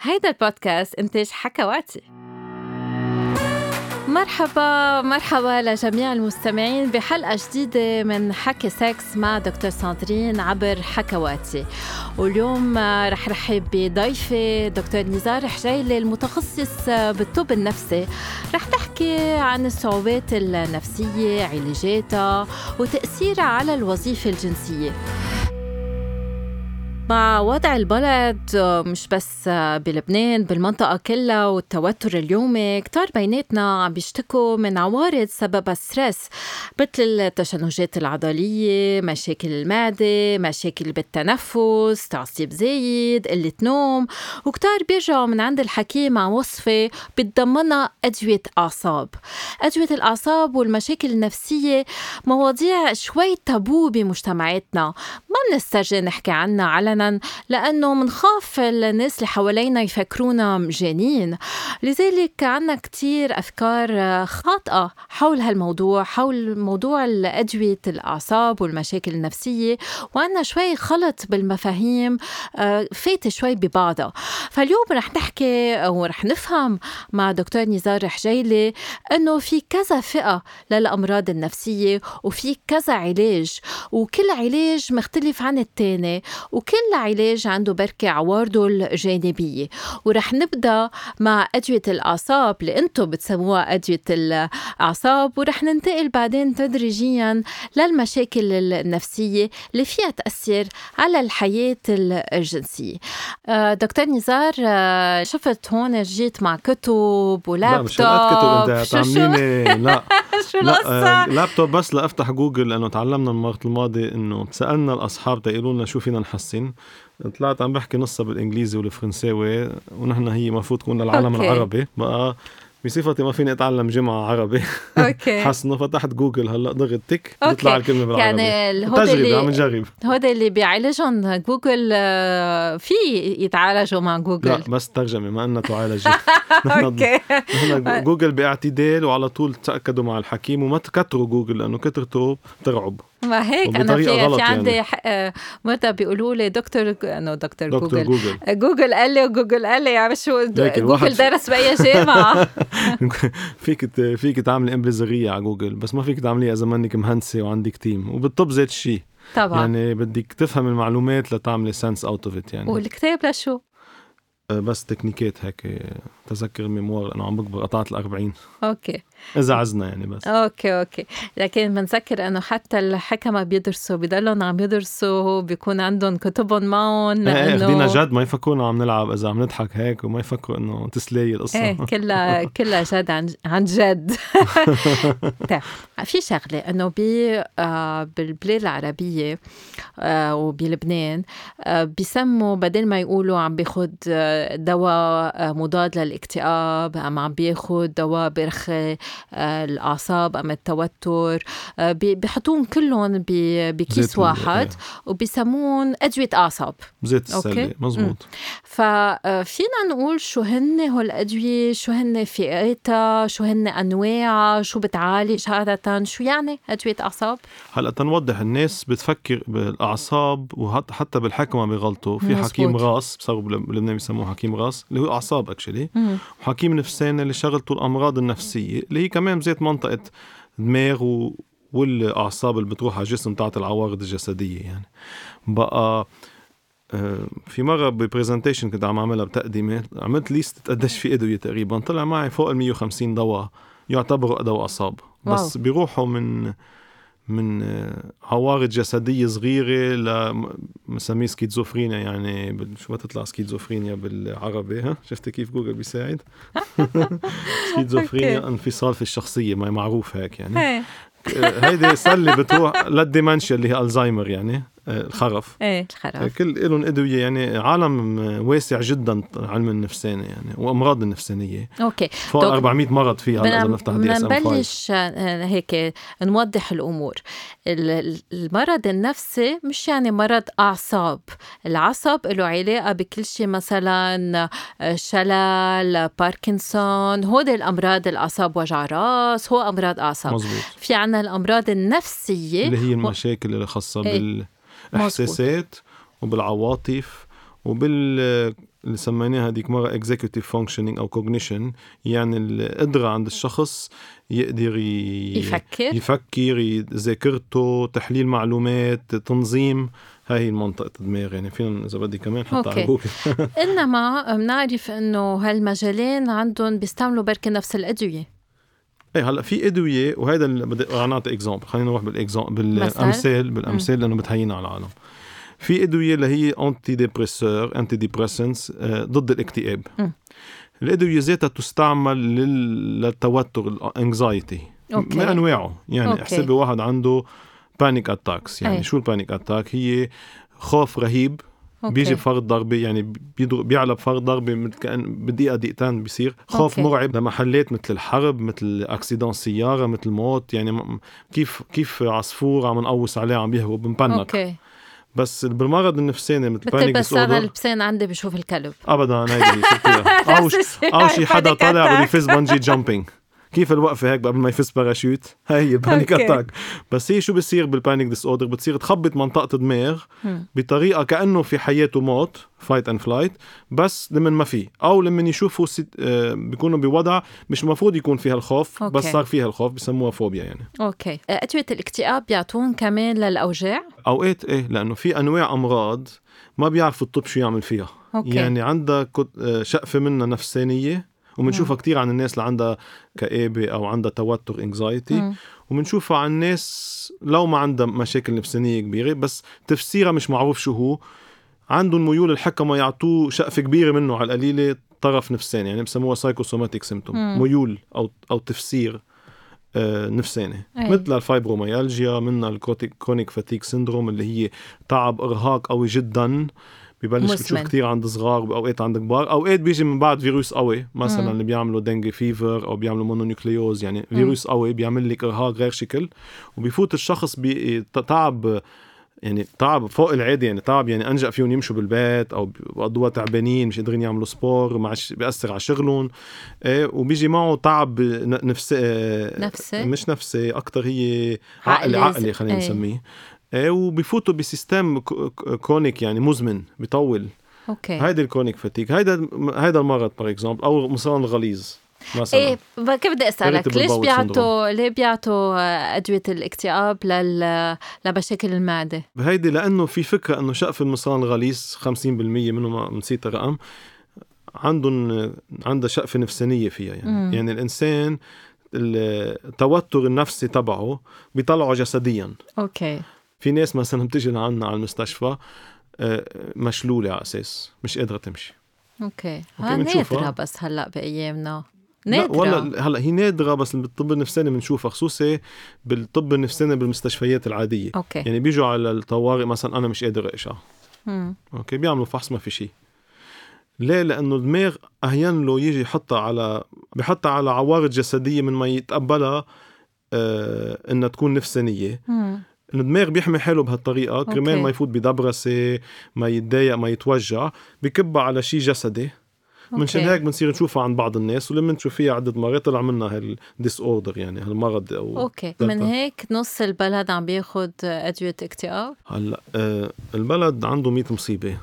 هيدا البودكاست إنتاج حكواتي مرحبا مرحبا لجميع المستمعين بحلقة جديدة من حكي سكس مع دكتور ساندرين عبر حكواتي واليوم رح رحب بضيفي دكتور نزار حجيلي المتخصص بالطب النفسي رح تحكي عن الصعوبات النفسية علاجاتها وتأثيرها على الوظيفة الجنسية مع وضع البلد آه، مش بس بلبنان بالمنطقة كلها والتوتر اليومي كتار بيناتنا عم بيشتكوا من عوارض سببها ستريس مثل التشنجات العضلية مشاكل المعدة مشاكل بالتنفس تعصيب زايد قلة نوم وكتار بيرجعوا من عند الحكيم مع وصفة بتضمنها أدوية أعصاب أدوية الأعصاب والمشاكل النفسية مواضيع شوي تابو بمجتمعاتنا ما بنسترجي نحكي عنها على علنا لأنه منخاف الناس اللي حوالينا يفكرونا مجانين لذلك عنا كتير أفكار خاطئة حول هالموضوع حول موضوع أدوية الأعصاب والمشاكل النفسية وعنا شوي خلط بالمفاهيم فات شوي ببعضها فاليوم رح نحكي ورح نفهم مع دكتور نزار حجيلي أنه في كذا فئة للأمراض النفسية وفي كذا علاج وكل علاج مختلف عن التاني وكل كل علاج عنده بركة عوارضه الجانبية ورح نبدأ مع أدوية الأعصاب اللي أنتم بتسموها أدوية الأعصاب ورح ننتقل بعدين تدريجيا للمشاكل النفسية اللي فيها تأثر على الحياة الجنسية آه، دكتور نزار آه، شفت هون جيت مع كتب ولابتوب لا مش نعم، كتب انت تعمليني لا آه، شو القصة؟ لابتوب بس لأفتح جوجل لأنه تعلمنا من الوقت الماضي إنه سألنا الأصحاب تيقولوا لنا شو فينا نحسن طلعت عم بحكي نصها بالإنجليزي والفرنساوي ونحن هي المفروض تكون للعالم أوكي. العربي بقى بصفتي ما فيني اتعلم جمعة عربي اوكي حسنه فتحت جوجل هلا ضغط تك أوكي. بتطلع الكلمة بالعربي يعني الهدى تجربة عم اللي نجرب هودي اللي بيعالجهم جوجل آه، في يتعالجوا مع لا جوجل بس ترجمة ما أنها تعالج نحن اوكي آه. نحن جوجل باعتدال وعلى طول تأكدوا مع الحكيم وما تكتروا جوجل لأنه كترته بترعب ما هيك انا وبطريقة في, غلط في عندي يعني. ح- آه، مرة بيقولوا لي دكتور انه دكتور دكتور جوجل جوجل جوجل قال لي وجوجل قال لي يا عم شو د- لكن واحد جوجل في- درس باي جامعه آه. فيك ت- فيك تعملي امبريزرية على جوجل بس ما فيك تعمليها اذا منك مهندسه وعندك تيم وبالطب ذات الشيء طبعا يعني يعني بدك تفهم المعلومات لتعملي سنس اوت اوف ات يعني والكتاب لشو؟ أه، بس تكنيكات هيك أه، تذكر ميموار انا عم بكبر قطعت الأربعين اوكي اذا عزنا يعني بس اوكي اوكي لكن بنذكر انه حتى الحكمه بيدرسوا بضلهم عم يدرسوا بيكون عندهم كتبهم معهم ايه خدينا لانه جد ما يفكرونا عم نلعب اذا عم نضحك هيك وما يفكروا انه تسلي القصه ايه كلها كلها جد عن عن جد طيب، في شغله انه ب آه، بالبلاد العربيه آه، وبلبنان آه، بيسموا بدل ما يقولوا عم بياخد آه، دواء آه، مضاد للاكتئاب ام عم بياخد دواء برخي آه، الاعصاب ام التوتر آه، بي- بيحطوهم كلهم ب- بكيس زيت ال- واحد وبيسموهم ادويه اعصاب زيت أوكي. السلة مزبوط ففينا نقول شو هن هالأدوية شو هن فئاتها شو هن أنواعها شو بتعالج عادة شو يعني أدوية أعصاب هلا تنوضح الناس بتفكر بالاعصاب وحتى حتى بالحكمه بغلطوا في مزبوط. حكيم راس صاروا بلبنان بيسموه حكيم راس اللي هو اعصاب اكشلي وحكيم نفساني اللي شغلته الامراض النفسيه اللي هي كمان زيت منطقه دماغ و... والاعصاب اللي بتروح على الجسم تاعت العوارض الجسديه يعني بقى آه، في مرة ببرزنتيشن كنت عم اعملها بتقديمة عملت ليست قديش في ادوية تقريبا طلع معي فوق ال 150 دواء يعتبروا دواء اعصاب بس بيروحوا من من آه، عوارض جسدية صغيرة ل بنسميه سكيزوفرينيا يعني بال- شو ما تطلع سكيزوفرينيا بالعربي ها شفت كيف جوجل بيساعد سكيزوفرينيا انفصال في الشخصية ما هي معروف هيك يعني ايه آه، هيدي سلة بتروح للديمنشيا اللي هي الزهايمر يعني آه، الخرف ايه الخرف كل لهم ادويه يعني عالم واسع جدا علم النفساني يعني وامراض النفسانيه اوكي فوق دك- 400 مرض فيها هلا اذا بنفتح دي اس ام بنبلش آه، هيك نوضح الامور ال- ال- المرض النفسي مش يعني مرض اعصاب العصب له علاقه بكل شيء مثلا آه، شلل باركنسون هودي الامراض الاعصاب وجع راس هو امراض اعصاب مزبوط في عنا الامراض النفسيه اللي هي المشاكل اللي خاصه إيه. بالاحساسات وبالعواطف وبال اللي سميناها هذيك مرة executive functioning أو cognition يعني القدرة عند الشخص يقدر ي... يفكر يفكر ي- ذاكرته تحليل معلومات تنظيم هاي هي المنطقة الدماغ يعني فينا إذا بدي كمان حتى أوكي. على جوجل انما بنعرف انه هالمجالين عندهم بيستعملوا بركي نفس الادويه ايه هلا في ادويه وهذا اللي بدي رح نعطي اكزامبل خلينا نروح بالاكزامبل بالامثال بالامثال لانه بتهينا على العالم في ادويه اللي هي انتي ديبريسور انتي ديبريسنس ضد الاكتئاب مم. الادويه ذاتها تستعمل لل- للتوتر الانكزايتي أوكي. ما انواعه يعني أوكي. إيه. احسبي واحد عنده بانيك اتاكس يعني أي. شو البانيك اتاك هي خوف رهيب أوكي. بيجي فرد ضربه يعني بيدر... بيعلى بفرد ضربه مثل كان بدقيقه دقيقتين بيصير خوف أوكي. مرعب لمحلات مثل الحرب مثل اكسيدان سياره مثل موت يعني م- كيف كيف عصفور عم نقوس عليه عم يهرب مبنك اوكي بس بالمرض النفساني مثل بانيك بتلبس انا ديسوردر البسان عندي بشوف الكلب ابدا هيدي شفتيها. او نفس ش- الشيء او شي حدا panic طالع attack. بده يفز بنجي جامبينج كيف الوقفه هيك قبل ما يفز باراشوت هي هي البانيك أوكي. اتاك بس هي شو بصير بالبانيك ديس اوردر بتصير تخبط منطقه دماغ بطريقه كانه في حياه وموت فايت اند فلايت بس لمن ما في او لمن يشوفوا سيت... آه، بيكونوا بوضع مش مفروض يكون فيها الخوف أوكي. بس صار فيها الخوف بسموها فوبيا يعني اوكي ادويه أه، الاكتئاب بيعطون كمان للاوجاع اوقات ايه لانه في انواع امراض ما بيعرفوا الطب شو يعمل فيها أوكي. يعني عندها كت- آه، شقفه منها نفسانيه وبنشوفها كتير عن الناس اللي عندها كآبة أو عندها توتر انكزايتي وبنشوفها عن ناس لو ما عندها مشاكل نفسانية كبيرة بس تفسيرها مش معروف شو هو عندهم ميول الحكمة يعطوه شقفة كبيرة منه على القليلة طرف نفساني يعني بسموها سايكوسوماتيك سيمتوم ميول أو أو تفسير آه، نفساني أي. مثل الفايبروميالجيا من الكرونيك فاتيك سندروم اللي هي تعب ارهاق قوي جدا ببلش مسمن. بتشوف كتير عند صغار واوقات عند كبار اوقات بيجي من بعد فيروس قوي مثلا اللي بيعملوا دنجي فيفر او بيعملوا مونونيوكليوز يعني فيروس قوي بيعمل لك ارهاق غير شكل وبيفوت الشخص بتعب يعني تعب فوق العادي يعني تعب يعني انجأ فيهم يمشوا بالبيت او بقضوها تعبانين مش قادرين يعملوا سبور مع بيأثر على شغلهم ايه وبيجي معه تعب ن- نفسي آه، نفسي؟ مش نفسي اكثر هي عقلي عقلي زي- عقلي خلينا إيه. نسميه ايه وبيفوتوا بسيستم كو- كو- كونيك يعني مزمن بيطول اوكي هيدا الكونيك فاتيك هيدا هيدا المرض باغ اكزومبل او مثلا الغليظ مثلا ايه ب- كيف بدي اسالك irritable ليش bowel بيعطوا ليه بيعطوا آه، ادويه الاكتئاب لل... لمشاكل المعده هيدي لانه في فكره انه شقف المصان الغليظ 50% منه ما نسيت الرقم عندهم عنده شقفه نفسانيه فيها يعني مم. مم. يعني الانسان التوتر النفسي تبعه بيطلعه جسديا اوكي في ناس مثلا بتجي لعنا على المستشفى آه، مشلوله على اساس مش قادره تمشي اوكي أوكي، ها منشوفها. نادره بس هلا بايامنا لا، نادره والله هلا هي نادره بس بالطب النفساني بنشوفها خصوصي بالطب النفساني بالمستشفيات العاديه اوكي يعني بيجوا على الطوارئ مثلا انا مش قادر اقشع مم. اوكي بيعملوا فحص ما في شيء ليه لانه الدماغ اهين له يجي يحطها على بحطها على عوارض جسديه من ما يتقبلها آه انها تكون نفسانيه مم. الدماغ بيحمي حاله بهالطريقه كرمال أوكي. ما يفوت بدبرسه ما يتضايق ما يتوجع بكبها على شيء جسدي منشان أوكي. هيك بنصير نشوفها عن بعض الناس ولما نشوف فيها عده مرات طلع منها هالديس اوردر يعني هالمرض او اوكي دلتا. من هيك نص البلد عم بياخد ادويه اكتئاب هلا آه، البلد عنده 100 مصيبه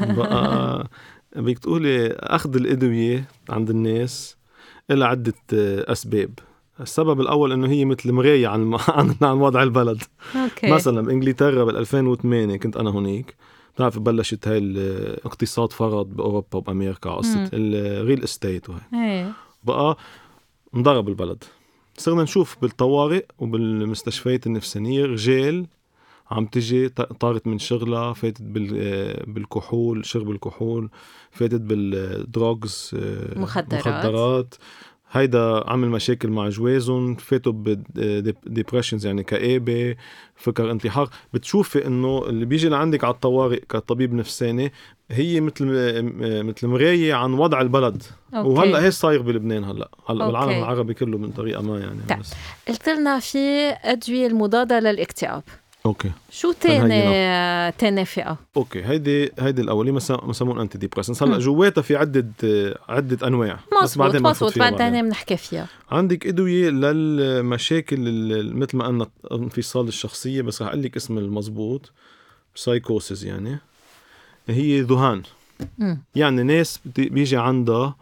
بقى بدك تقولي اخذ الادويه عند الناس لها عده آه، اسباب السبب الاول انه هي مثل مرايه عن الم- عن عن وضع البلد اوكي مثلا بانجلترا بال 2008 كنت انا هونيك بتعرف بلشت هاي الاقتصاد فرض باوروبا وبامريكا مم. قصه الريل استيت وهي ايه بقى انضرب البلد صرنا نشوف بالطوارئ وبالمستشفيات النفسانية رجال عم تجي ط- طارت من شغلها فاتت بال- آه، بالكحول شرب الكحول فاتت بالدروغز مخدرات. مخدرات هيدا عمل مشاكل مع جوازهم فاتوا بديبرشنز يعني كآبة فكر انتحار بتشوفي انه اللي بيجي لعندك على الطوارئ كطبيب نفساني هي مثل آه، مثل مراية عن وضع البلد أوكي. وهلا هي صاير بلبنان هلا هلا أوكي. بالعالم العربي كله من طريقه ما يعني طيب. بس. قلت لنا في ادويه المضاده للاكتئاب اوكي شو تاني آه، تاني فئه اوكي هيدي هيدي الاولى بسموها انتي ديبريسنس هلا جواتها في عده آه، عده انواع بس مزبوط بعدين بنفوت مزبوط فيها بعدين بنحكي فيها يعني. عندك ادويه للمشاكل ال- مثل ما قلنا انفصال الشخصيه بس رح اقول لك اسم المزبوط سايكوسيس يعني هي ذهان مم. يعني ناس بت- بيجي عندها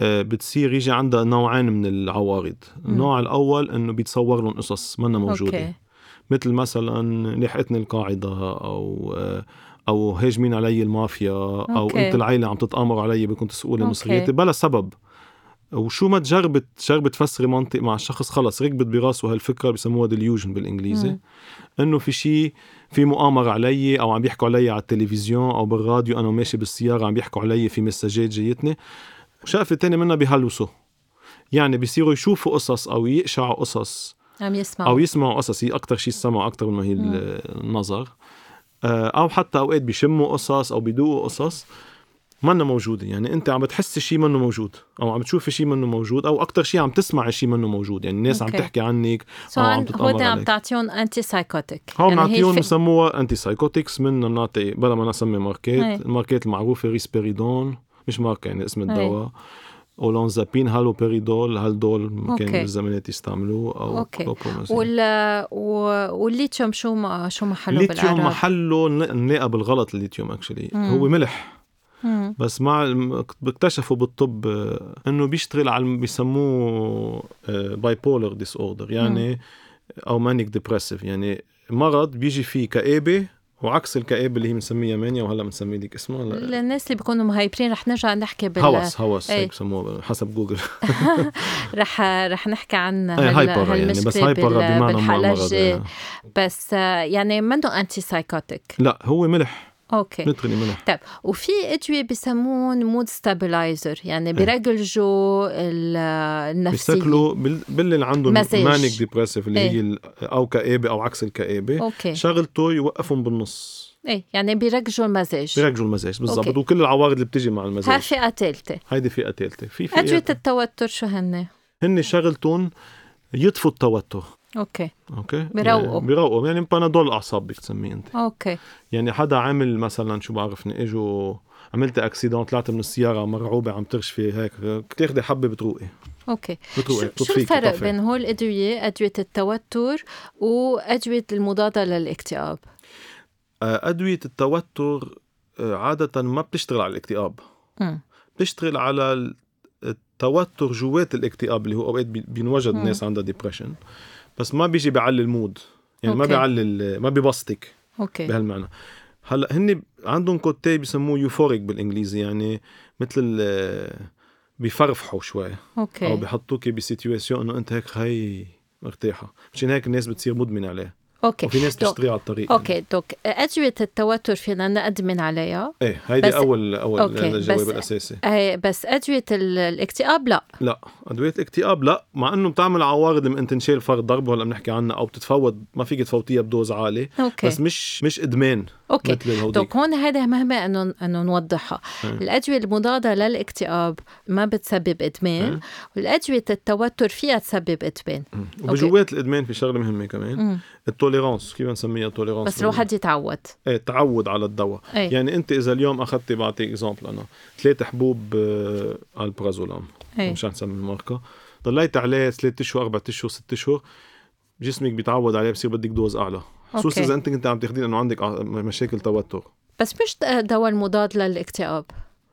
آه، بتصير يجي عندها نوعين من العوارض النوع الاول انه بيتصور لهم قصص منا موجوده أوكي. مثل مثلا لحقتني القاعده او آه، او هاجمين علي المافيا او أوكي. انت العيله عم تتامر علي بدكم تسقوا لي أوكي. مصرياتي بلا سبب وشو ما تجربي تجربي تفسري منطق مع الشخص خلص ركبت براسه هالفكره بسموها ديليوجن بالانجليزي مم. انه في شيء في مؤامره علي او عم بيحكوا علي على التلفزيون او بالراديو انا ماشي بالسياره عم بيحكوا علي في مسجات جايتني وشقفه تاني منها بيهلوسوا يعني بيصيروا يشوفوا قصص او يقشعوا قصص عم يسمع او يسمعوا قصص هي اكثر شيء السمع اكثر ما هي النظر آه، او حتى اوقات بيشموا قصص او بيدوقوا قصص منا موجوده يعني انت عم بتحس شيء منه موجود او عم تشوف شيء منه موجود او اكثر شيء عم تسمع شيء منه موجود يعني الناس أوكي. عم تحكي عنك سو آه، عم عن- تتأمر هودي عم يعني عليك. تعطيهم انتي سايكوتيك هون نعطيهم بسموها انتي سايكوتكس منا بنعطي بلا ما نسمي هي. ماركات الماركات المعروفه ريسبيريدون مش ماركه يعني اسم الدواء اولونزابين هالوبيريدول هالدول أوكي. كان بالزمانات يستعملوه او أوكي. كلوكومازين. وال و- والليتشيوم شو ما شو محله الليثيوم بالعراق محله نلا- نلاقى بالغلط الليثيوم اكشلي هو ملح مم. بس مع الم- اكتشفوا بالطب آه، انه بيشتغل على الم- بيسموه باي بولر ديس اوردر يعني او مانيك ديبرسيف يعني مرض بيجي فيه كآبه وعكس الكآبه اللي هي بنسميها مانيا وهلا بنسميه لك اسمها هلا الناس اللي بيكونوا مهايبرين رح نرجع نحكي بال هوس هوس إيه. هيك بسموها حسب جوجل رح رح نحكي عن إيه، هال- هايبر يعني بس هالمشكله هايبر بال- بمعنى مرض بالحلجه يعني. بس آه، يعني منه انتي سايكوتيك لا هو ملح اوكي نترلي ملح طيب وفي ادويه بيسمون مود ستابلايزر يعني بيرجلجوا ال- النفسيه بيستكلوا بال- باللي اللي عندهم مزاج. مانيك ديبرسيف اللي إيه. هي ال- او كآبه او عكس الكآبه اوكي شغلته يوقفهم بالنص ايه يعني بيرجلجوا المزاج بيرجوا المزاج بالضبط أوكي. وكل العوارض اللي بتجي مع ها المزاج فئه ثالثه هيدي فئه ثالثه في فئه ادويه التوتر شو هن؟ هن شغلتهم يطفوا التوتر اوكي اوكي بيروقوا. يعني بيروقوا يعني بانادول اعصاب بدك تسميه انت اوكي يعني حدا عامل مثلا شو بعرفني اجوا عملت اكسيدون طلعت من السياره مرعوبه عم ترشفي هيك بتاخدي حبه بتروقي اوكي بتروقي شو, شو بتطفيكي، الفرق بتطفي. بين هول الادويه ادويه التوتر وادويه المضاده للاكتئاب؟ آه، ادويه التوتر آه، عاده ما بتشتغل على الاكتئاب مم. بتشتغل على ال- التوتر جوات الاكتئاب اللي هو اوقات بي- بينوجد مم. ناس عندها ديبرشن بس ما بيجي بيعلي المود يعني ما أوكي. بيعلي ال- ما ببسطك اوكي بهالمعنى هلا هن عندهم كوتي بسموه يوفوريك بالانجليزي يعني مثل ال- بيفرفحوا شوي او اوكي بحطوك بسيتويشن انه انت هيك هي مرتاحه مشان هيك الناس بتصير مدمنه عليه اوكي وفي ناس دونك- بتشتري على الطريق اوكي دوك ادويه التوتر فينا نادمن عليها يعني. ايه بس- هيدي اول اول أوكي، الجواب بس- الاساسي آه، بس ادويه ال- الاكتئاب لا لا ادويه الاكتئاب لا مع انه بتعمل عوارض لما انت تنشال فرد ضرب هلا بنحكي عنها او بتتفوت ما فيك تفوتيها بدوز عالي اوكي بس مش مش ادمان اوكي مثل الهوديك دوك هون هذا مهمة انه انه نوضحها، إيه. الأدوية المضادة للاكتئاب ما بتسبب إدمان، إيه. والأدوية التوتر فيها تسبب إدمان، مم. وبجوات الادمان في شغله مهمه كمان مم. التوليرانس كيف نسميها التوليرانس بس الواحد يتعود، ايه تعود على الدواء إيه. يعني انت اذا اليوم اخذت بعطيك اكزامبل انا ثلاث حبوب آه، البرازولام إيه. مش هنسمي الماركه ضليت عليه ثلاث اشهر اربع اشهر ست اشهر جسمك بيتعود عليه بصير بدك دوز اعلى خصوصا أوكي. اذا انت كنت عم تاخذين لانه عندك ع- مشاكل توتر بس مش دواء المضاد للاكتئاب،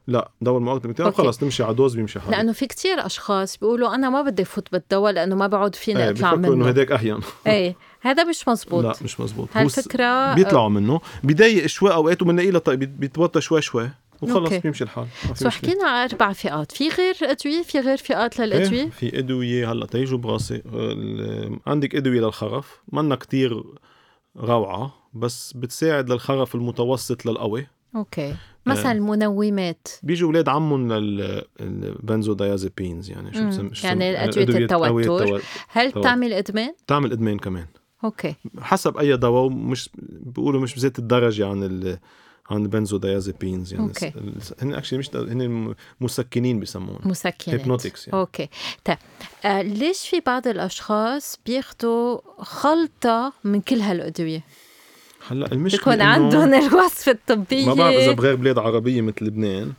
لا دواء المؤقت الاكتئاب أوكي. خلص تمشي على دوز بيمشي حالك لأنه في كتير أشخاص بيقولوا أنا ما بدي فوت بالدواء لأنه ما بعود فيني ايه أطلع بفكروا انه منه، هداك اهين إيه هذا مش لا مزبوط مش مزبوط هو س- هالفكرة بيطلعوا منه بيضايق شوي اوقات وبنلاقي له طيب بيت- بيتوطى شوي شوي وخلص أوكي. بيمشي الحال ما في سو مشكلة. حكينا على أربع فئات، في غير أدوية في غير فئات إيه، للأدوية؟ في ادويه هلا تيجوا براسي ال- عندك ادويه للخرف منا كتير روعه بس بتساعد للخرف المتوسط للقوي إيه. أوكي، مثلا المنومات بيجي اولاد عمهم للبنزودايازيبينز يعني شو مم. بسم... شو يعني بسم- أدوية أدوية التوتر. التو- هل طبعاً. بتعمل إدمان؟ بتعمل ادمان كمان أوكي حسب اي دواء مش بيقولوا مش بذات الدرجه عن ال... عن البنزودايازيبينز يعني أوكي. س- هن اكشلي مش هن مسكنين بيسموهم مسكنات هيبنوتكس يعني اوكي طيب آه ليش في بعض الاشخاص بياخذوا خلطه من كل هالادويه هلا المشكله بيكون إنه- عندهم الوصفه الطبيه ما بعرف اذا بغير بلاد عربيه مثل لبنان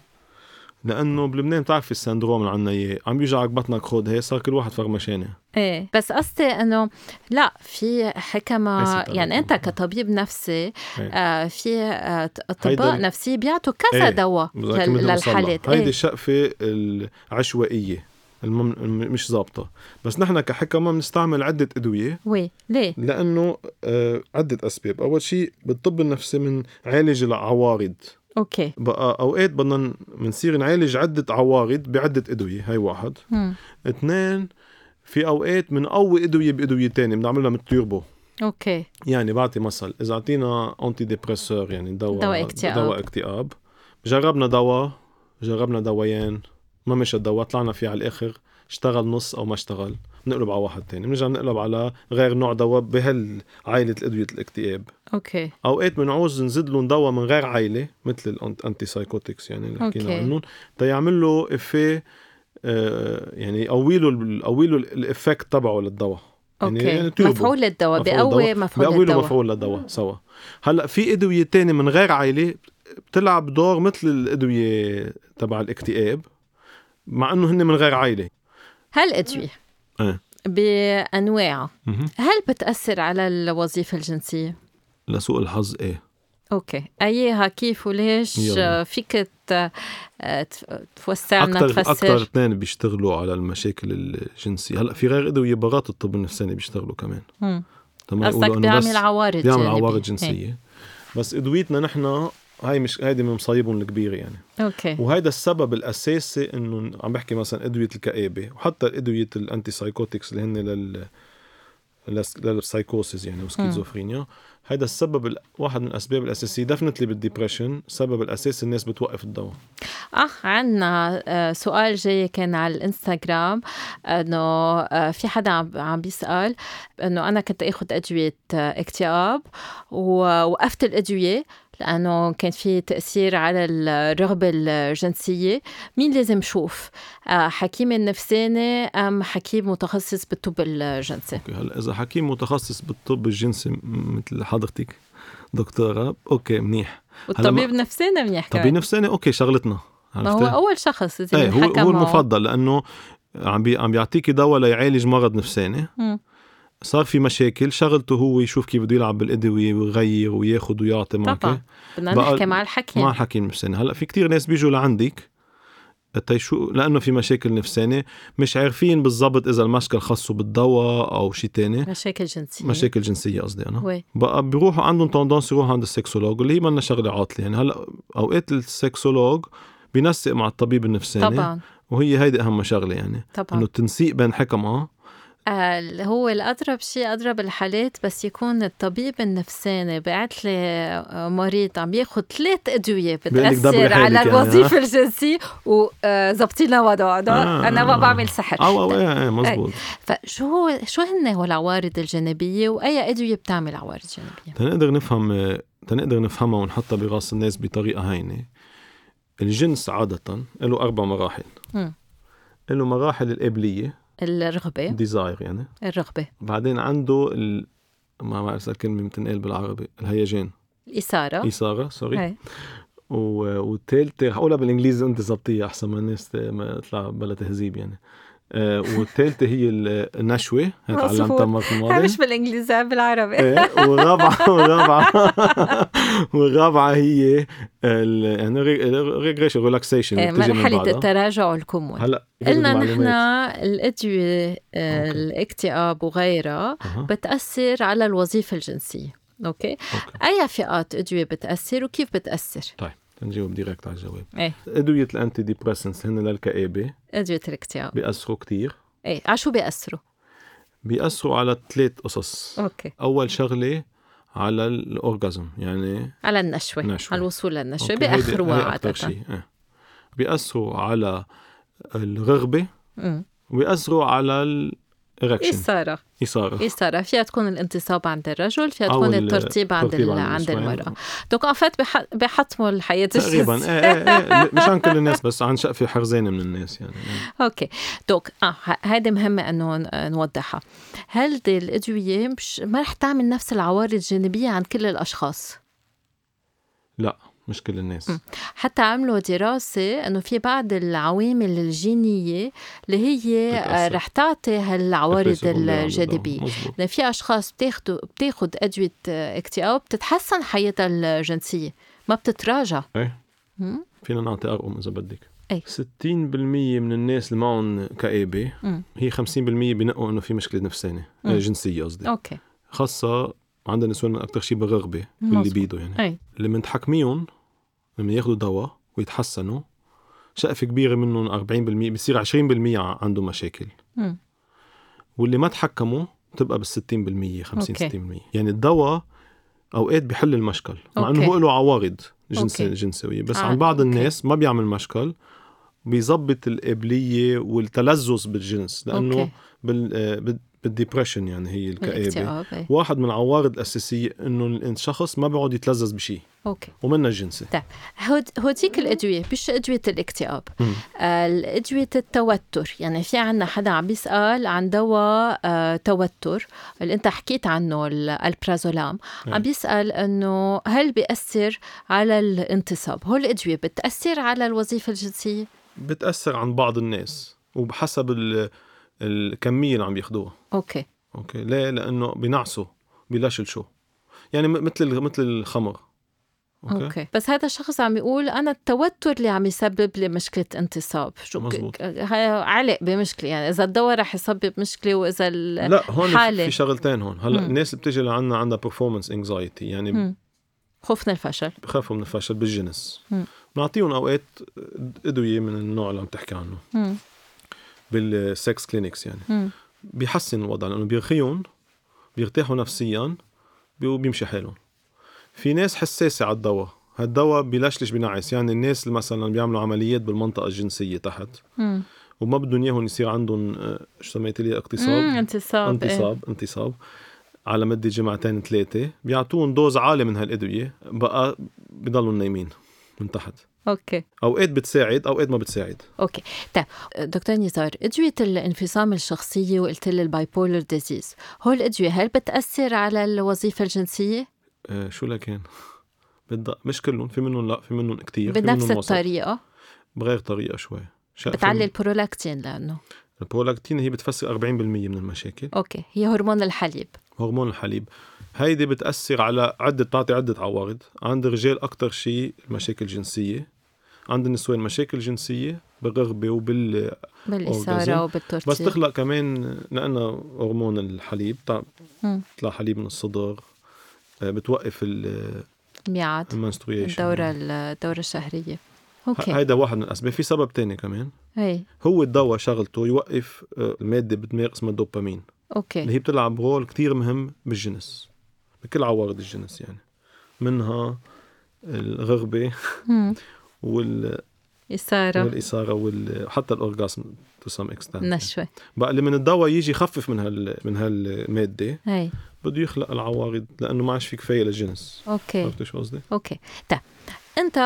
لانه بلبنان بتعرف السندروم اللي عندنا اياه عم بيوجعك بطنك خد هي صار كل واحد فرمشانه ايه بس قصدي انه لا في قصة حكمة طبيب. يعني انت كطبيب نفسي آه في آه، إيه. هيدا اطباء ال- نفسيين بيعطوا كذا إيه. دواء بذكر لل- مثل ما صار لها. للحالات هيدي ايه الشقفة العشوائية المم... الم- مش ظابطة بس نحن كحكمة بنستعمل عدة أدوية وي ليه؟ لأنه آه عدة أسباب أول شيء بالطب النفسي من عالج العوارض اوكي بقى أوقات بدنا ن- منصير نعالج عدة عوارض بعدة أدوية هاي واحد مم. اثنين في أوقات منقوي أدوية بأدوية تانية بنعملها مثل تيربو اوكي يعني بعطي مثل اذا اعطينا انتي ديبريسور يعني دواء دواء اكتئاب. دواء اكتئاب جربنا دواء جربنا دوايين ما مشى الدواء طلعنا فيه على الاخر اشتغل نص او ما اشتغل بنقلب على واحد تاني بنرجع بنقلب على غير نوع دواء بهال عائله ادويه الاكتئاب اوكي اوقات بنعوز نزيد لهم دواء من غير عائله مثل الانتي سايكوتكس يعني اللي حكينا أوكي. عنهم تيعمل له افيه آه، يعني يقوي له يقوي له الافكت تبعه للدواء اوكي يعني يعني تيربو. مفعول الدواء بقوي مفعول بقوي له الدواء مفعول للدواء سوا هلا في ادويه تانية من غير عائله بتلعب دور مثل الادويه تبع الاكتئاب مع انه هن من غير عائله هالأدوية إيه. بأنواعها هل بتأثر على الوظيفة الجنسية؟ لسوء الحظ ايه اوكي ايها كيف وليش يلا. آه، فيك ت- آه، تف- توسع لنا اكثر اكثر تفسر اثنين بيشتغلوا على المشاكل الجنسيه هلا في غير ادويه برات الطب النفساني بيشتغلوا كمان مم. تما قصدك يقولوا إنه بيعمل بس عوارض بيعمل جانبية. عوارض إيه. جنسيه بس ادويتنا نحن هاي مش هيدي من مصايبهم الكبيره يعني اوكي وهيدا السبب الاساسي انه عم بحكي مثلا ادويه الكآبه وحتى ادويه الانتي سايكوتكس اللي هن لل للس- للسايكوسيس يعني وسكيزوفرينيا هيدا السبب ال- واحد من الاسباب الاساسيه دفنتلي بالديبرشن السبب الاساسي الناس بتوقف الدواء اه عنا آه، سؤال جاي كان على الانستغرام انه آه، في حدا عم- عم بيسال انه انا كنت اخذ ادويه آه، اكتئاب ووقفت الادويه لانه كان في تاثير على الرغبه الجنسيه مين لازم شوف آه، حكيم النفساني ام حكيم متخصص بالطب الجنسي اوكي هلا اذا حكيم متخصص بالطب الجنسي م- مثل حضرتك دكتوره اوكي منيح والطبيب نفساني منيح طبيب كمان نفساني اوكي شغلتنا ما هو عرفتي؟ اول شخص إذا ايه هو بنحكى هو معه. المفضل لانه عم بي عم بيعطيكي دواء ليعالج مرض نفساني مم. صار في مشاكل شغلته هو يشوف كيف بده يلعب بالادويه ويغير وياخذ ويعطي معك طبعا بدنا بقى- نحكي مع الحكيم مع الحكيم النفساني هلا في كتير ناس بيجوا لعندك تيشو لانه في مشاكل نفسانيه مش عارفين بالضبط اذا المشكل خاصه بالدواء او شيء تاني مشاكل جنسيه مشاكل جنسيه قصدي انا وي. بقى بيروحوا عندهم توندونس يروحوا عند السكسولوج اللي هي منا شغله عاطله يعني هلا اوقات السكسولوج بينسق مع الطبيب النفساني طبعا وهي هيدي اهم شغله يعني انه طبعا التنسيق بين حكمه آه، هو الأضرب شيء أضرب الحالات بس يكون الطبيب النفساني بعت لي آه، مريض عم ياخذ ثلاث أدوية بيقول لك دبري بتأثر حالك على يعني، الوظيفة الجنسية وظبطي لنا وضعه آه. أنا ما بعمل سحر او او ايه إيه، مزبوط فشو شو هن هو العوارض الجانبية وأي أدوية بتعمل عوارض جانبية؟ تنقدر نفهم تنقدر نفهمها ونحطها براس الناس بطريقة هينة الجنس عادة له أربع مراحل مم. له مراحل القبلية الرغبة ديزاير يعني الرغبة بعدين عنده ال... ما بعرف إذا الكلمة بتنقال بالعربي الهيجان الإثارة إثارة سوري هاي. و... والثالثة رح أقولها بالإنجليزي أنت زبطية أحسن ما الناس ت- ما تطلع بلا تهذيب يعني آه، والثالثة هي ال- النشوة هي مظبوط. تعلمتها المرة هاي الماضية مش بالإنجليزي هاي بالعربي إيه، والرابعة والرابعة والرابعة هي ال يعني ريجريشن آه، ريلاكسيشن مرحلة التراجع والكمون هلا قلنا غير نحن المعلومات. الأدوية آه، أوكي. الاكتئاب وغيرها أها. بتأثر على الوظيفة الجنسية أوكي أوكي. أي فئات أدوية بتأثر وكيف بتأثر طيب نجاوب ديريكت على الجواب إيه ادويه الانتي ديبريسنس هن للكآبه أدوية الاكتئاب بياثروا كثير إيه على شو بيأثروا بياثروا على ثلاث قصص أوكي اول شغله على الاورجازم يعني على النشوة نشوة. على الوصول للنشوة أوكي، بيأخروها هيدي- هي أكتر عادة شيء إيه. بياثروا على الرغبه مم. وبياثروا على إيه، الايركشن إثارة اثاره إثارة إيه، فيها تكون الانتصاب عند الرجل فيها تكون ال- الترطيب عند الترطيب ال- عند عند النسوان. المرأة دوك أن فات بح- بحطموا الحياة تقريبا الجنسية ايه ايه ايه مش عن كل الناس بس عن شقفه حرزانه من الناس يعني اوكي دوك اه هذه مهمه انه ن- نوضحها هل دي الادويه مش ما رح تعمل نفس العوارض الجانبيه عند كل الاشخاص لا مش كل الناس مم. حتى عملوا دراسة إنه في بعض العوامل الجينية اللي هي آه، بتأثر. رح تعطي هالعوارض بتأثر باللي عم الجانبية بدهم. مزبوط. لأن في أشخاص بتاخدوا بتاخد أدوية آه، اكتئاب بتتحسن حياتها الجنسية ما بتتراجع ايه مم. فينا نعطي ارقام اذا بدك إيه. 60% من الناس اللي معهم كآبة مم. هي 50% بنقوا انه في مشكله نفسانيه مم. آه، جنسيه قصدي أوكي خاصه عند النسوان اكثر شيء بالرغبه باللي مزبوط. بيدوا يعني أي اللي بنتحكميهم لما ياخذوا دواء ويتحسنوا شقفة كبيرة منهم 40% بصير 20% عندهم مشاكل مم. واللي ما تحكموا بتبقى بال 60% 50 أوكي. 60% يعني الدواء اوقات بحل المشكل مع أوكي. انه هو له عوارض جنس أوكي. جنسويه بس آه، عن بعض أوكي. الناس ما بيعمل مشكل بيظبط القابليه والتلذذ بالجنس لانه أوكي بال آه، بال- بالديبرشن يعني هي الكآبه الاكتئاب إيه. واحد من العوارض الاساسيه انه الشخص ما بيقعد يتلذذ بشيء أوكي ومنها الجنسي طيب هود- هوديك الأدوية مش أدوية الاكتئاب مم. آه، الأدوية التوتر يعني في عنا حدا عم بيسأل عن دواء آه، توتر اللي أنت حكيت عنه ال- البرازولام نعم. عم بيسأل أنه هل بيأثر على الانتصاب هول الأدوية بتأثر على الوظيفة الجنسية بتاثر عن بعض الناس وبحسب ال- الكميه اللي عم ياخدوها أوكي اوكي ليه لانه بنعسوا بلشلشوا يعني م- مثل ال- مثل الخمر أوكي. أوكي بس هذا الشخص عم يقول أنا التوتر اللي عم يسبب لي مشكلة انتصاب شو ك- مزبوط. ك- هاي علق بمشكلة يعني إذا الدواء رح يسبب مشكلة وإذا ال... لا هون في- حالة. في شغلتين هون هلا مم. الناس اللي بتجي لعنا عندها performance anxiety يعني مم. خوفنا الفشل بخافوا من الفشل بالجنس مم. بنعطيهم اوقات ادويه من النوع اللي عم تحكي عنه مم. بالسكس كلينكس يعني مم. بيحسن الوضع لانه بيرخيهم بيرتاحوا نفسيا بي- وبيمشي حالهم في ناس حساسه على الدواء هالدواء بلشلش بنعس يعني الناس اللي مثلا بيعملوا عمليات بالمنطقه الجنسيه تحت مم. وما بدهم اياهم يصير عندهم آه، شو سميت لي مم، اقتصاب انتصاب إيه. انتصاب انتصاب على مده جمعتين ثلاثه بيعطوهم دوز عالي من هالادويه بقى بضلوا نايمين من تحت اوكي اوقات بتساعد اوقات ما بتساعد اوكي طيب دكتور نزار ادويه الانفصام الشخصيه وقلت لي الباي بولر ديزيز هول الادويه هل بتاثر على الوظيفه الجنسيه آه، شو لكان بدأ مش كلهم في منهم لا في منهم كثير بنفس الطريقه بغير طريقه شوي شايف بتعلي البرولاكتين لانه البرولاكتين هي بتفسر 40% من المشاكل اوكي هي هرمون الحليب هرمون الحليب هيدي بتأثر على عدة بتعطي عدة عوارض عند الرجال أكتر شيء مشاكل جنسية عند النسوان مشاكل جنسية بالرغبة وبال بالاثاره أورجازم. وبالترتيب بس تخلق كمان لأنها هرمون الحليب بتع- مم. بتطلع حليب من الصدر آه، بتوقف ال- آه، ميعاد المنستريشن الدوره الدوره الشهريه ه- اوكي هيدا واحد من الأسباب في سبب تاني كمان هي هو الدواء شغلته يوقف آه، المادة بدماغ اسمها الدوبامين اللي اوكي هي بتلعب رول كتير مهم بالجنس بكل عوارض الجنس يعني منها الرغبة مم. وال... اثاره والإثارة وال... حتى الأورgasm to some extent نشوه بقى اللي من الدواء يجي يخفف من هال... من هالمادة هي بده يخلق العوارض لأنه ما عادش في كفاية للجنس اوكي عرفت شو قصدي؟ اوكي طيب انت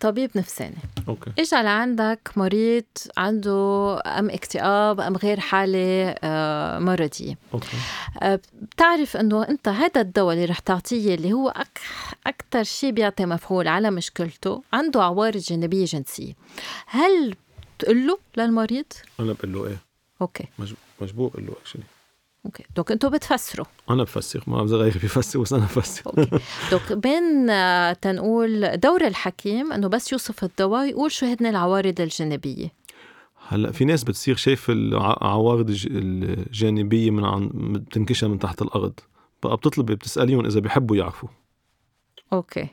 طبيب نفساني أوكي اجى لعندك مريض عنده ام اكتئاب ام غير حاله آه، مرضيه أوكي آه، بتعرف انه انت هذا الدواء اللي رح تعطيه اللي هو اكثر شيء بيعطي مفعول على مشكلته عنده عوارض جانبيه جنسيه هل بتقول له للمريض أنا بقول له إيه اوكي مج... مجبور أقول له اكشلي اوكي دوك انتم بتفسروا أنا بفسر ما بعرف غيري بيفسر بس أنا بفسر اوكي دوك بين آه، تنقول دور الحكيم انه بس يوصف الدواء يقول شو هن العوارض الجانبيه هلا في ناس بتصير شايف العوارض الج- الجانبيه من عن بتنكشها من تحت الارض بقى بتطلبي بتساليهم اذا بيحبوا يعرفوا اوكي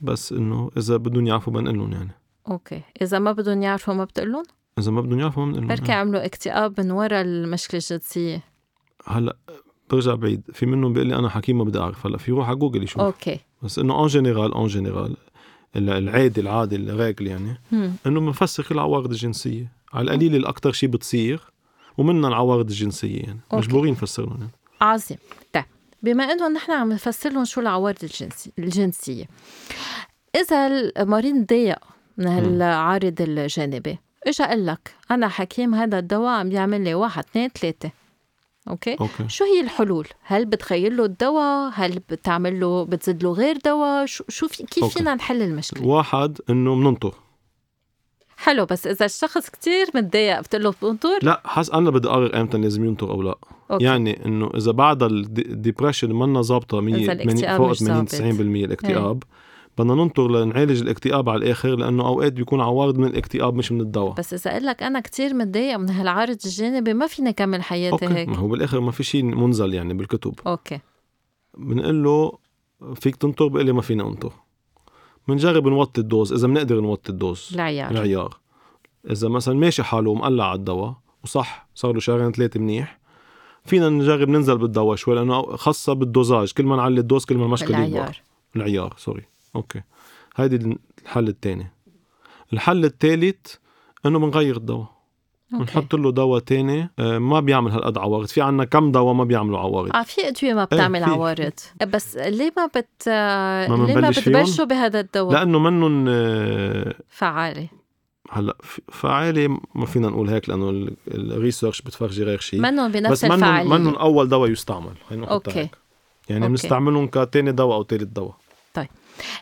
بس انه اذا بدهم يعرفوا بنقول لهم يعني اوكي اذا ما بدهم يعرفوا ما بتقولهم اذا ما بدهم يعرفوا ما يعني. بنقول بركي لهم عملوا اكتئاب من ورا المشكله الجنسيه هلا برجع بعيد في منهم بيقول لي انا حكيم ما بدي اعرف هلا في روح على جوجل يشوف أوك. اوكي بس انه اون جينيرال اون جينيرال العادي العادي الراجل يعني مم. انه بنفسخ العوارض الجنسيه على القليل الاكثر شيء بتصير ومنها العوارض الجنسيه يعني أوكي. مجبورين نفسر لهم يعني. عظيم طيب بما انه نحن عم نفسر لهم شو العوارض الجنسي الجنسيه اذا المريض ضايق من هالعارض الجانبي اجا قال لك انا حكيم هذا الدواء عم يعمل لي واحد اثنين ثلاثه اوكي اوكي شو هي الحلول هل بتخيل له الدواء هل بتعمل له بتزيد له غير دواء شو, شو في كيف أوكي. فينا نحل المشكله واحد انه بننطر حلو بس اذا الشخص كتير متضايق بتقول له بنطر لا حس انا بدي اقرر امتى لازم ينطر او لا أوكي. يعني انه اذا بعد الديبرشن منا ظابطه مية- إذا مية- الاكتئاب فوق مش 80 ظابط. إيه. 90% الاكتئاب بدنا ننطر لنعالج الاكتئاب على الاخر لانه اوقات بيكون عوارض من الاكتئاب مش من الدواء بس اذا قال لك انا كتير متضايق من هالعارض الجانبي ما فيني كمل حياتي اوكي هيك ما هو بالاخر ما في شيء منزل يعني بالكتب اوكي بنقول له فيك تنطر بقول لي ما فيني انطر بنجرب نوطي الدوز اذا بنقدر نوطي الدوز العيار العيار اذا مثلا ماشي حاله ومقلع على الدواء وصح صار له شهرين ثلاثه منيح فينا نجرب ننزل بالدواء شوي لانه خاصه بالدوزاج كل ما نعلي الدوز كل ما المشكله يكبر العيار العيار سوري اوكي هيدي الحل الثاني الحل الثالث انه بنغير الدواء اوكي بنحط له دواء تاني آه، ما بيعمل هالقد عوارض في عنا كم دواء ما بيعملوا عوارض اه في ادويه ما بتعمل إيه، في- عوارض بس ليه ما بت ما ليه ما بنبلش فيهم؟ بتبلشوا بهذا الدواء لانه منن آه، فعالي هلا ف- فعالي ما فينا نقول هيك لانه ال- الريسيرش بتفرجي غير شيء منهم بس بنفس منن منن الفعاليه اول دواء يستعمل خلينا نحطها أوكي. هيك يعني أوكي. بنستعملهم كتاني دواء او تالت دواء طيب.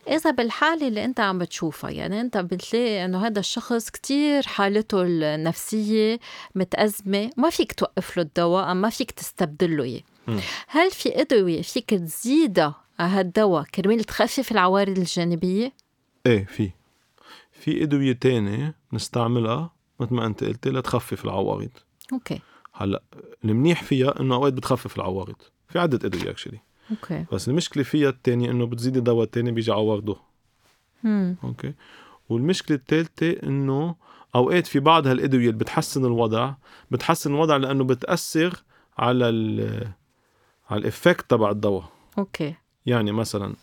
إذا بالحالة اللي أنت عم بتشوفها يعني أنت بتلاقي إنه هذا الشخص كتير حالته النفسية متأزمة ما فيك توقف له الدواء أم ما فيك تستبدل له إياه مم. هل في أدوية فيك تزيدها على هالدواء كرمال تخفف العوارض الجانبية؟ ايه في في ادويه تانية نستعملها مثل ما انت قلت لتخفف العوارض أوكي هلا المنيح فيها انه اوقات بتخفف العوارض في عده ادويه اكشلي أوكي بس المشكله فيها الثانيه انه بتزيدي دواء تاني بيجي عوارضه مم. اوكي والمشكله الثالثه انه اوقات في بعض هالادويه اللي بتحسن الوضع بتحسن الوضع لانه بتاثر على ال على الافكت تبع الدواء أوكي يعني مثلا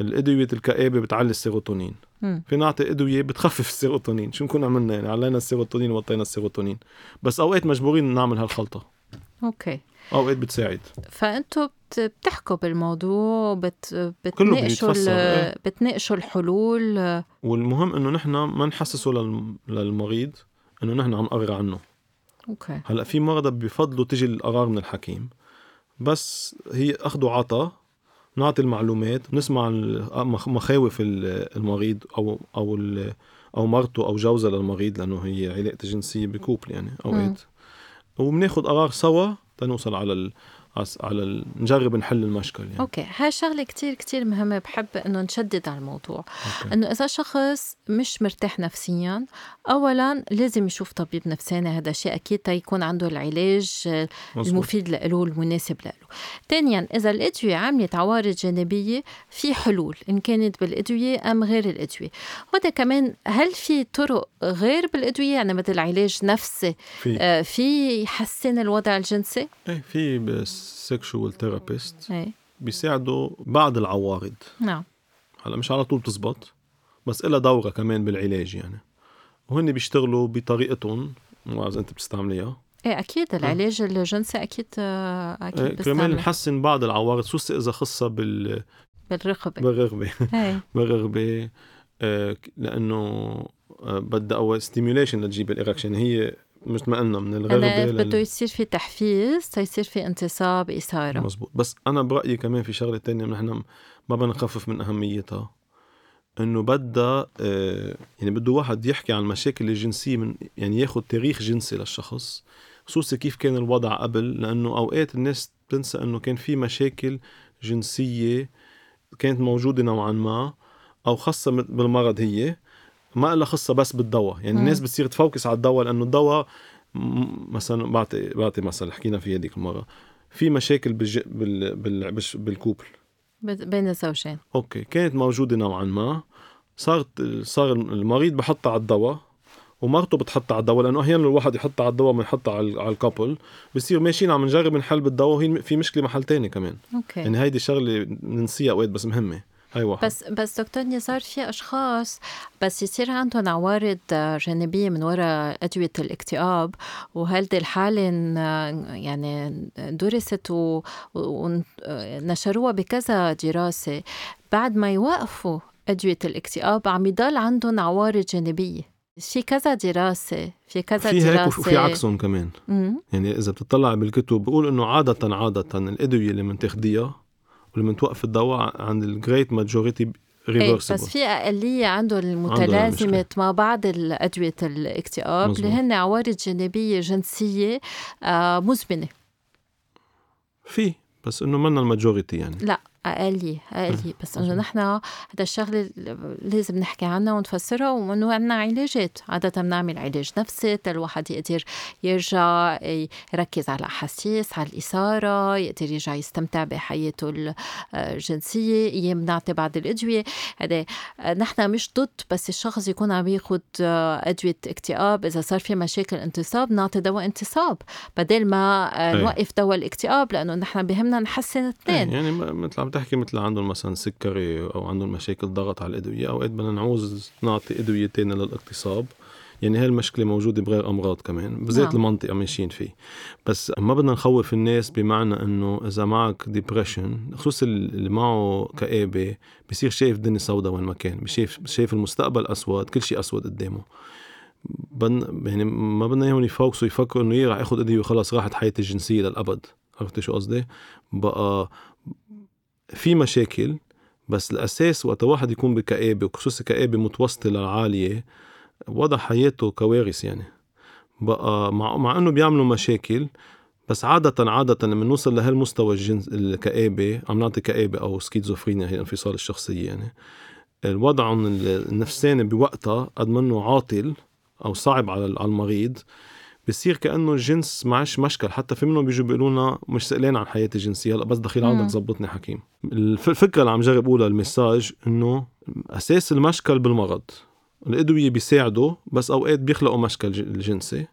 الادويه الكآبه بتعلي السيروتونين مم. في نعطي ادويه بتخفف السيروتونين شو نكون عملنا يعني علينا السيروتونين وطينا السيروتونين بس اوقات مجبورين نعمل هالخلطه أوكي اوقات بتساعد فأنتوا بت- بتحكوا بالموضوع بت... كله بتناقشوا ال- بيتفسر، إيه. بتناقشوا الحلول والمهم انه نحن ما نحسسه للم- للمريض انه نحن عم نقرر عنه أوكي هلا في مرضى بفضلوا تجي القرار من الحكيم بس هي اخذ وعطا نعطي المعلومات نسمع مخاوف ال- المريض او او ال- او مرته او جوزها للمريض لانه هي علاقه جنسيه بكوبل يعني اوقات وبناخذ قرار سوا تنوصل على ال... عس- على ال... نجرب نحل المشكل يعني اوكي هاي شغله كتير كتير مهمه بحب انه نشدد على الموضوع أوكي. انه اذا شخص مش مرتاح نفسيا اولا لازم يشوف طبيب نفساني هذا شيء اكيد تيكون عنده العلاج آه، مزبوط. المفيد لإله والمناسب لإله ثانيا اذا الادويه عملت عوارض جانبيه في حلول ان كانت بالادويه ام غير الادويه وهذا كمان هل في طرق غير بالادويه يعني مثل علاج نفسي في آه، في يحسن الوضع الجنسي إيه، في سيكشوال ثيرابيست اي بيساعدوا بعض العوارض نعم هلا مش على طول بتزبط بس إلها دورها كمان بالعلاج يعني وهن بيشتغلوا بطريقتهم ما بعرف إذا انت بتستعمليها ايه اكيد العلاج الجنسي اكيد آه، اكيد إيه، كرمال بستعمل نحسن بعض العوارض خصوصي اذا خصها بال... بالرقبه بالرغبه ايه بالرغبه آه، ك- لانه آه، بدها اول ستيميوليشن لتجيب الايركشن هي مثل ما قلنا من الرغبه أنا لل- بده يصير في تحفيز تيصير في انتصاب اثاره مزبوط بس انا برايي كمان في شغله تانية نحن ما بدنا نخفف من اهميتها انه بدها آه، يعني بده واحد يحكي عن المشاكل الجنسيه من يعني ياخذ تاريخ جنسي للشخص خصوصي كيف كان الوضع قبل لانه اوقات الناس بتنسى انه كان في مشاكل جنسيه كانت موجوده نوعا ما او خاصه مت- بالمرض هي ما لها خاصه بس بالدواء يعني مم. الناس بتصير تفوكس على الدواء لانه الدواء م- مثلا بعطي بعطي مثلا حكينا فيها هذيك المره في مشاكل بالج... بال... بال... بالش- بالكوبل بت- بين الزوجين اوكي كانت موجوده نوعا ما صارت صار المريض بحطها على الدواء ومرته بتحطها على الدواء لانه احيانا الواحد يحطها على الدواء ما يحطها على على الكابل بصير ماشيين عم نجرب نحل بالدواء وهي في مشكله محل تاني كمان اوكي يعني هيدي شغله بننسيها اوقات بس أيوة. مهمه هاي واحد بس بس دكتور نزار في اشخاص بس يصير عندهم عوارض آه، جانبيه من وراء ادويه الاكتئاب وهيدي الحاله ن- يعني درست ونشروها آه، بكذا دراسه بعد ما يوقفوا ادويه الاكتئاب عم يضل عندهم عوارض جانبيه في كذا دراسة في كذا في دراسة هيك وفي عكسهم كمان مم. يعني اذا بتطلع بالكتب بقول انه عاده عاده الادويه اللي بنتاخديها واللي بتوقف الدواء عند الجريت ماجوريتي إيه، ريفرسبل بس في أقلية عندهم المشكلة. المتلازمة مع بعض أدوية الاكتئاب مظبوط. اللي هن عوارض جانبية جنسية آه، مزمنة في بس انه منا الماجوريتي يعني لا أقلية أقلية بس إنه مظبوط. نحن هذا الشغلة اللي لازم نحكي عنها ونفسرها وإنه عندنا علاجات عادة بنعمل علاج نفسي تا الواحد يقدر يرجع يركز على الأحاسيس على الإثارة يقدر يرجع يستمتع بحياته ال- الجنسية أيام بنعطي بعض الأدوية هذا نحن مش ضد بس الشخص يكون عم ياخد آه، أدوية اكتئاب إذا صار في مشاكل انتصاب نعطي دواء انتصاب بدل ما آه، إيه. نوقف دواء الاكتئاب لأنه نحن بهمنا نحسن اثنين يعني ما- مثل عم تحكي مثل عندهم مثلا سكري او عندهم مشاكل ضغط على الادويه اوقات بدنا نعوز نعطي ادويه تانية للاغتصاب يعني هاي المشكله موجوده بغير امراض كمان بذات نعم. المنطقه ماشيين فيه بس ما بدنا نخوف الناس بمعنى انه اذا معك ديبرشن خصوص اللي معه كابه بصير شايف الدنيا سوداء وين ما كان شايف شايف المستقبل اسود كل شيء اسود قدامه بدنا يعني ما بدنا اياهم يفوكسوا يفكروا انه ايه رح اخذ ادويه وخلص راحت حياتي الجنسيه للابد عرفتي شو قصدي؟ بقى في مشاكل بس الاساس وقت واحد يكون بكآبه وخصوصا كآبه متوسطه لعاليه وضع حياته كوارث يعني بقى مع, مع انه بيعملوا مشاكل بس عادة عادة لما نوصل لهالمستوى الجنس الكآبة عم نعطي كآبة أو سكيزوفرينيا هي انفصال الشخصية يعني الوضع النفساني بوقتها قد منه عاطل أو صعب على على المريض بصير كأنه الجنس معش مشكل حتى في منهم بيجوا بيقولوا لنا مش سألان عن حياتي الجنسية هلا بس دخيل عم مم. تزبطني حكيم الف- الفكرة اللي عم جرب أقولها المساج إنه أساس المشكل بالمرض الأدوية بيساعدوا بس أوقات بيخلقوا مشكل ج- الجنسي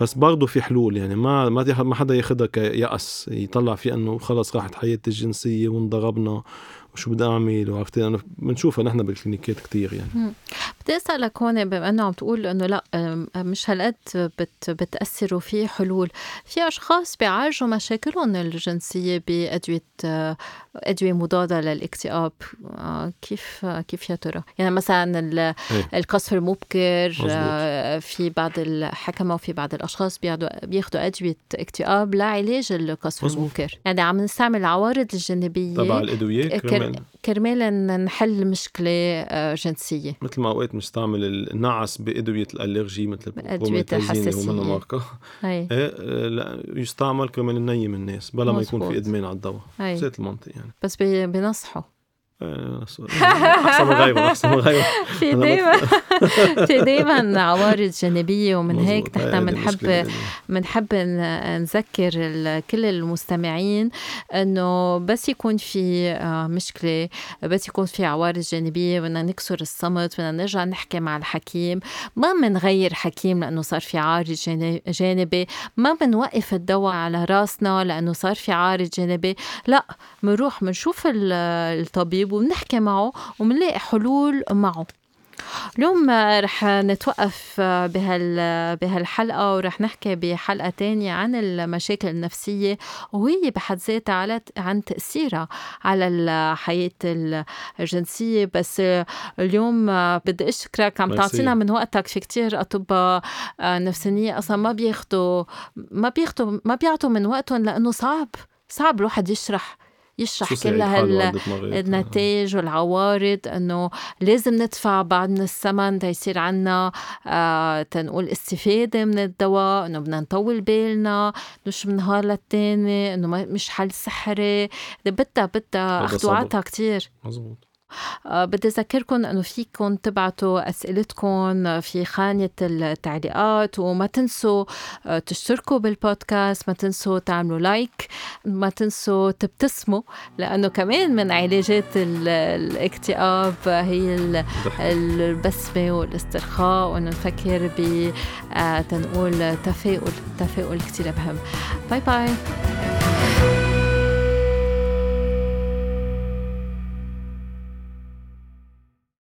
بس برضه في حلول يعني ما ما تح- ما حدا ياخدها كيأس يطلع فيه انه خلص راحت حياتي الجنسيه وانضربنا وشو بدي اعمل وعرفتي لانه بنشوفها نحن بالكلينيكات كتير يعني بدي اسالك هون بما انه عم تقول انه لا أم- مش هالقد بت بتاثر وفي حلول في اشخاص بيعالجوا مشاكلهم الجنسيه بادويه آه، ادويه مضاده للاكتئاب آه، كيف آه، كيف يا ترى يعني مثلا ال- إيه. القصف المبكر مزبوط. آه، في بعض الحكمه وفي بعض الاشخاص بيعدوا- بياخدوا ادويه اكتئاب لعلاج القصف مزبوط. المبكر يعني عم نستعمل العوارض الجانبيه تبع الادويه كر- كرمال كرمال نحل مشكله آه، جنسيه مثل ما اوقات بنستعمل النعس بادويه الالرجي مثل بأدوية البروميتازين اللي هو منه الحساسية. ماركه هي. إيه، آه، لا يستعمل كرمال ننيم الناس بلا ما يكون مزبوط. في ادمان على الدواء هي. زيت المنطق يعني بس بي- بنصحوا آه، أص- احسن من غيره احسن من غيره في أنا ما دايما في دايما عوارض جانبيه ومن هيك مزبوط. هي نحن هيدي المشكلة بنحب اللي- بنحب ن- نذكر ال- كل المستمعين انه بس يكون في آه، مشكله بس يكون في عوارض جانبيه بدنا نكسر الصمت بدنا نرجع نحكي مع الحكيم ما بنغير حكيم لانه صار في عارض جان- جانبي ما بنوقف الدواء على راسنا لانه صار في عارض جانبي لا بنروح بنشوف ال- الطبيب وبنحكي معه وبنلاقي حلول معه اليوم رح نتوقف بهال بهالحلقة ورح نحكي بحلقة تانية عن المشاكل النفسية وهي بحد ذاتها على عن تأثيرها على الحياة الجنسية بس اليوم بدي أشكرك عم ميرسي. تعطينا من وقتك في كتير أطباء نفسانية أصلا ما بياخدوا ما بياخدوا ما بيعطوا من وقتهم لأنه صعب صعب الواحد يشرح يشرح خصوصي كل عيد حاله هال عدة مرات. النتائج والعوارض انه لازم ندفع بعض من الثمن تيصير عنا آه تنقول استفاده من الدواء انه بدنا نطول بالنا انه شو من نهار للتاني انه ما- مش حل سحري بدها بدها هذا اخذ صبر. وعطا كتير مزبوط آه، بدي أذكركم أنه فيكم تبعتوا أسئلتكم في خانة التعليقات وما تنسوا آه، تشتركوا بالبودكاست ما تنسوا تعملوا لايك ما تنسوا تبتسموا لأنه كمان من علاجات ال- الاكتئاب هي ال- البسمة والاسترخاء وأنه نفكر ب آه، تنقول تفاؤل تفاؤل كتير مهم باي باي